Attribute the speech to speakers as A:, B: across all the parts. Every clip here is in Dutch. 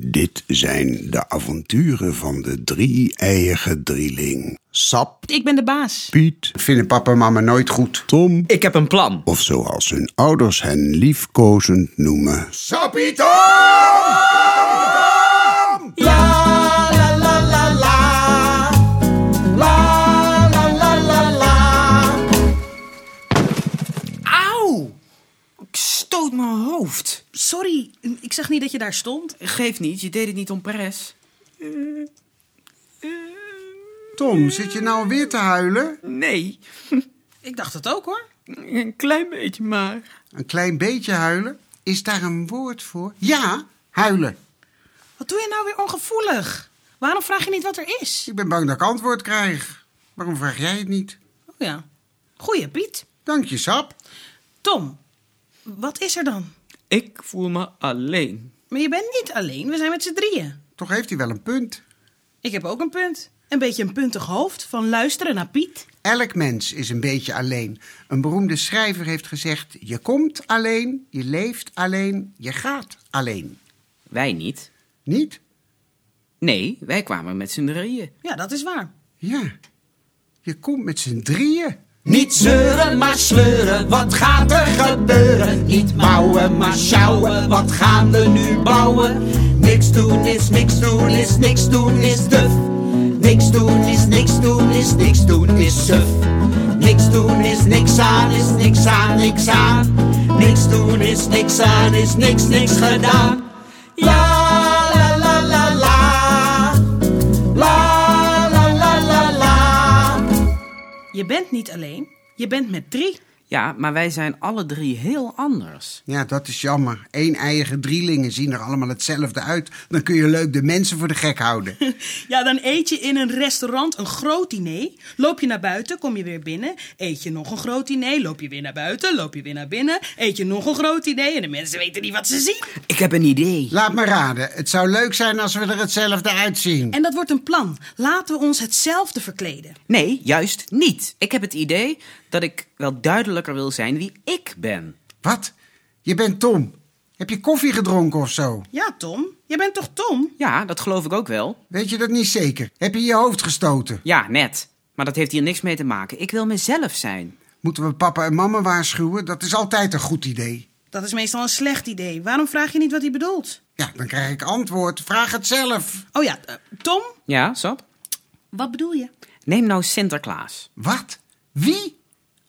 A: Dit zijn de avonturen van de drie-eiige drieling. Sap,
B: Ik ben de baas.
A: Piet, vinden papa en mama nooit goed. Tom,
C: Ik heb een plan.
A: of zoals hun ouders hen liefkozend noemen. Sapito!
D: Auw! Ik stoot mijn hoofd.
B: Sorry, ik zag niet dat je daar stond.
D: Geef niet, je deed het niet om pres. Eh,
A: Tom, zit je nou weer te huilen?
D: Nee,
B: Ik dacht het ook hoor.
D: een klein beetje maar.
A: Een klein beetje huilen? Is daar een woord voor? Ja, huilen.
B: Wat doe je nou weer ongevoelig? Waarom vraag je niet wat er is?
A: Ik ben bang dat ik antwoord krijg. Waarom vraag jij het niet?
B: Oh ja. Goeie Piet.
A: Dank je, Sap.
B: Tom, wat is er dan?
D: Ik voel me alleen.
B: Maar je bent niet alleen, we zijn met z'n drieën.
A: Toch heeft hij wel een punt.
B: Ik heb ook een punt. Een beetje een puntig hoofd van luisteren naar Piet.
A: Elk mens is een beetje alleen. Een beroemde schrijver heeft gezegd: je komt alleen, je leeft alleen, je gaat alleen.
C: Wij niet.
A: Niet?
C: Nee, wij kwamen met z'n drieën.
B: Ja, dat is waar.
A: Ja. Je komt met z'n drieën.
E: Niet zeuren, maar sleuren, wat gaat er gebeuren? Niet mouwen, maar sjouwen, wat gaan we nu bouwen? Niks doen is niks doen is niks doen is duf. Niks doen is niks doen is niks doen is suf. Niks doen is niks aan is niks aan niks aan. Niks doen is niks aan is niks niks gedaan. Ja, la la la la. La la la la la.
B: Je bent niet alleen, je bent met drie.
C: Ja, maar wij zijn alle drie heel anders.
A: Ja, dat is jammer. Eén-eiige drielingen zien er allemaal hetzelfde uit. Dan kun je leuk de mensen voor de gek houden.
B: Ja, dan eet je in een restaurant een groot diner. Loop je naar buiten, kom je weer binnen. Eet je nog een groot diner, loop je weer naar buiten, loop je weer naar binnen. Eet je nog een groot diner en de mensen weten niet wat ze zien.
C: Ik heb een idee.
A: Laat me raden. Het zou leuk zijn als we er hetzelfde uitzien.
B: En dat wordt een plan. Laten we ons hetzelfde verkleden.
C: Nee, juist niet. Ik heb het idee dat ik wel duidelijker wil zijn wie ik ben.
A: Wat? Je bent Tom. Heb je koffie gedronken of zo?
B: Ja, Tom, jij bent toch Tom?
C: Ja, dat geloof ik ook wel.
A: Weet je dat niet zeker? Heb je je hoofd gestoten?
C: Ja, net. Maar dat heeft hier niks mee te maken. Ik wil mezelf zijn.
A: Moeten we papa en mama waarschuwen? Dat is altijd een goed idee.
B: Dat is meestal een slecht idee. Waarom vraag je niet wat hij bedoelt?
A: Ja, dan krijg ik antwoord. Vraag het zelf.
B: Oh ja, eh, Tom,
C: Ja, Sap?
B: wat bedoel je?
C: Neem nou Sinterklaas.
A: Wat? Wie?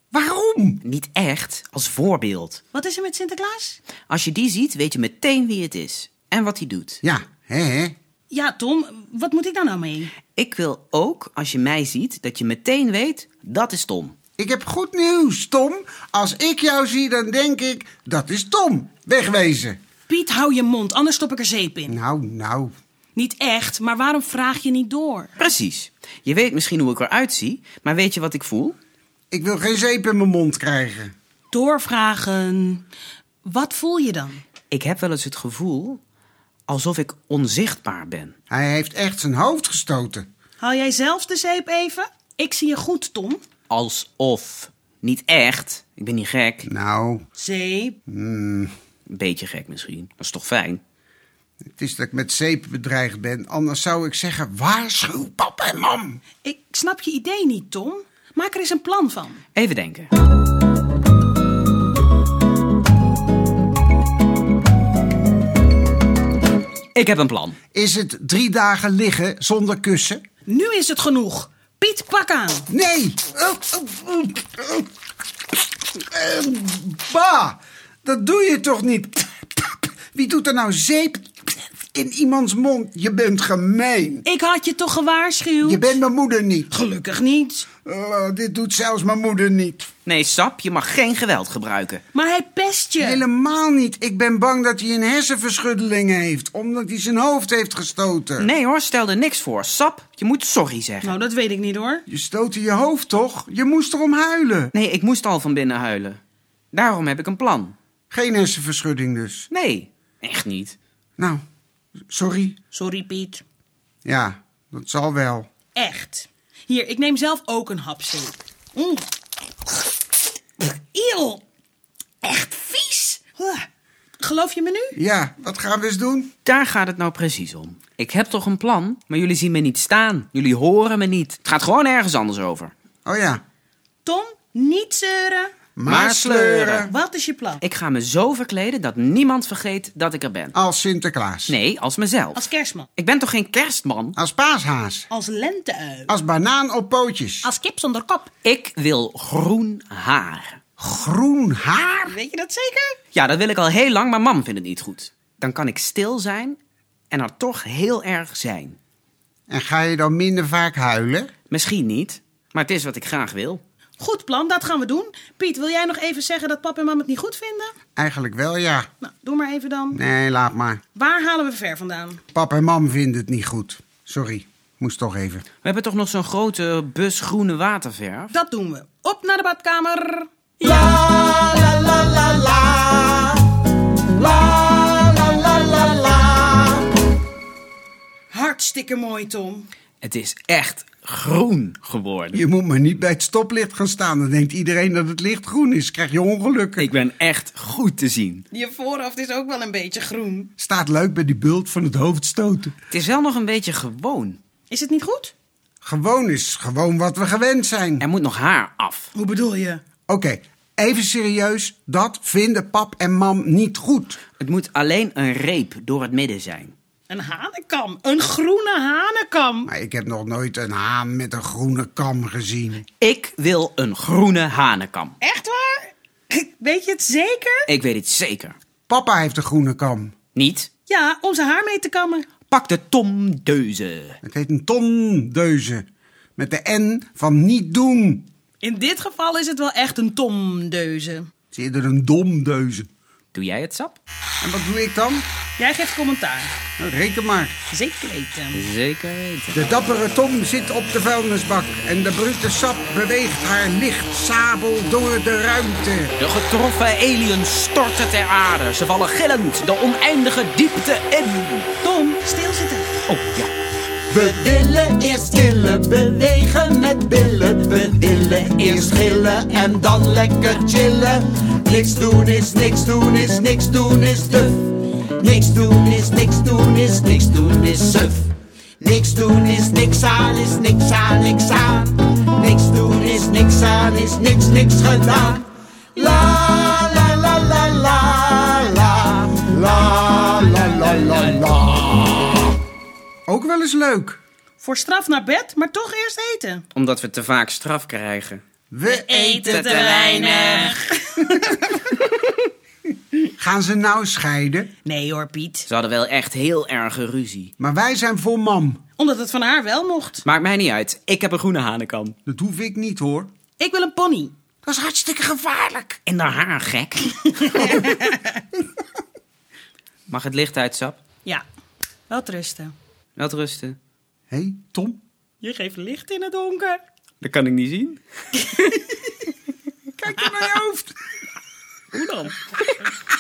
A: Waarom?
C: Niet echt, als voorbeeld.
B: Wat is er met Sinterklaas?
C: Als je die ziet, weet je meteen wie het is en wat hij doet.
A: Ja, hè, hè?
B: Ja, Tom, wat moet ik daar nou mee?
C: Ik wil ook, als je mij ziet, dat je meteen weet, dat is Tom.
A: Ik heb goed nieuws, Tom. Als ik jou zie, dan denk ik, dat is Tom. Wegwezen.
B: Piet, hou je mond, anders stop ik er zeep in.
A: Nou, nou.
B: Niet echt, maar waarom vraag je niet door?
C: Precies. Je weet misschien hoe ik eruit zie, maar weet je wat ik voel?
A: Ik wil geen zeep in mijn mond krijgen.
B: Doorvragen. Wat voel je dan?
C: Ik heb wel eens het gevoel alsof ik onzichtbaar ben.
A: Hij heeft echt zijn hoofd gestoten.
B: Haal jij zelf de zeep even? Ik zie je goed, Tom.
C: Alsof. Niet echt. Ik ben niet gek.
A: Nou,
B: Zeep.
C: Een beetje gek misschien. Dat is toch fijn?
A: het is dat ik met zeep bedreigd ben. Anders zou ik zeggen, waarschuw papa en mam.
B: Ik snap je idee niet, Tom. Maak er eens een plan van.
C: Even denken. Ik heb een plan.
A: Is het drie dagen liggen zonder kussen?
B: Nu is het genoeg. Piet, pak aan.
A: Nee! Eh, Bah, eh, dat doe je toch niet? Wie doet er nou zeep in iemands mond? Je bent gemeen.
B: Ik had je toch gewaarschuwd?
A: Je bent mijn moeder niet.
B: Gelukkig niet.
A: Oh, dit doet zelfs mijn moeder niet.
C: Nee, Sap, je mag geen geweld gebruiken.
B: Maar hij pest je.
A: Helemaal niet. Ik ben bang dat hij een hersenverschuddeling heeft, omdat hij zijn hoofd heeft gestoten.
C: Nee hoor, stel er niks voor. Sap, je moet sorry zeggen.
B: Nou, dat weet ik niet hoor.
A: Je stootte je hoofd toch? Je moest erom huilen.
C: Nee, ik moest al van binnen huilen. Daarom heb ik een plan.
A: Geen hersenverschudding dus.
C: Nee, echt niet.
A: Nou, sorry.
B: Sorry, Piet.
A: Ja, dat zal wel.
B: Echt. Hier, ik neem zelf ook een hap zeep. Mm. Eeuw. Echt vies. Huh. Geloof je me nu?
A: Ja, wat gaan we eens doen?
C: Daar gaat het nou precies om. Ik heb toch een plan, maar jullie zien me niet staan. Jullie horen me niet. Het gaat gewoon ergens anders over.
A: Oh ja,
B: Tom, niet zeuren.
A: maar sleuren.
B: Wat is je plan?
C: Ik ga me zo verkleden dat niemand vergeet dat ik er ben.
A: Als Sinterklaas.
C: Nee, als mezelf.
B: Als kerstman.
C: Ik ben toch geen kerstman?
A: Als paashaas.
B: Als lenteu.
A: Als banaan op pootjes.
B: Als kip zonder kop.
C: Ik wil groen haar.
A: groen haar.
B: Weet je dat zeker?
C: Ja, dat wil ik al heel lang, maar mam vindt het niet goed. Dan kan ik stil zijn en er toch heel erg zijn.
A: En ga je dan minder vaak huilen?
C: Misschien niet, maar het is wat ik graag wil.
B: Goed plan, dat gaan we doen. Piet, wil jij nog even zeggen dat pap en mam het niet goed vinden?
A: Eigenlijk wel, ja.
B: Nou, doe maar even dan.
A: Nee, laat maar.
B: Waar halen we ver vandaan?
A: Pap en mam vinden het niet goed. Sorry, moest toch even.
C: We hebben toch nog zo'n grote bus groene waterverf?
B: Dat doen we. Op naar de badkamer. Hartstikke mooi, Tom.
C: Het is echt groen geworden.
A: Je moet maar niet bij het stoplicht gaan staan. Dan denkt iedereen dat het licht groen is. Krijg je ongelukken.
C: Ik ben echt goed te zien.
B: Je voorhoofd is ook wel een beetje groen.
A: Staat leuk bij die bult van het hoofd stoten.
C: Het is wel nog een beetje gewoon.
B: Is het niet goed?
A: Gewoon is gewoon wat we gewend zijn.
C: Er moet nog haar af.
B: Hoe bedoel je?
A: Oké, even serieus. Dat vinden pap en mam niet goed.
C: Het moet alleen een reep door het midden zijn.
B: Een hanenkam. Een groene hanenkam.
A: Maar ik heb nog nooit een haan met een groene kam gezien.
C: Ik wil een groene hanenkam.
B: Echt waar? Weet je het zeker?
C: Ik weet het zeker.
A: Papa heeft een groene kam.
C: Niet?
B: Ja, om zijn haar mee te kammen.
C: Pak de tomdeuze.
A: Het heet een tondeuze. Met de N van niet doen.
B: In dit geval is het wel echt een tomdeuze.
A: Het is eerder een domdeuze.
C: Doe jij het sap?
A: En wat doe ik dan?
B: Jij geeft commentaar.
A: Nou, Reken maar.
B: Zeker weten.
C: Zeker weten.
A: De dappere Tom zit op de vuilnisbak. En de brute sap beweegt haar licht sabel door de ruimte.
C: De getroffen aliens storten ter aarde. Ze vallen gillend de oneindige diepte in.
B: Tom, stilzitten.
C: Oh ja.
E: We willen eerst killen, bewegen met billen. We willen eerst gillen en dan lekker chillen. Niks doen is niks doen is niks doen is duf. Niks doen is niks doen is niks doen is suf. Niks doen is niks aan is niks aan niks aan. Niks doen is niks aan is niks niks gedaan. La la la la la la la la la la la.
A: Ook wel eens leuk.
B: Voor straf naar bed, maar toch eerst eten.
C: Omdat we te vaak straf krijgen.
A: We
B: Eh, Eten te weinig.
A: gaan ze nou scheiden.
B: Nee hoor, Piet.
C: Ze hadden wel echt heel erge ruzie.
A: Maar wij zijn voor mam.
B: Omdat het van haar wel mocht.
C: Maakt mij niet uit. Ik heb een groene hanenkam.
A: Dat hoef ik niet hoor.
B: Ik wil een pony.
A: Dat is hartstikke gevaarlijk.
C: En haar haar gek. Mag het licht uit, sap?
B: Ja, wel rusten.
C: Wel rusten.
A: Hé, hey, Tom.
B: Je geeft licht in het donker.
D: Dat kan ik niet zien.
A: Kijk naar je hoofd.
B: Hoe dan?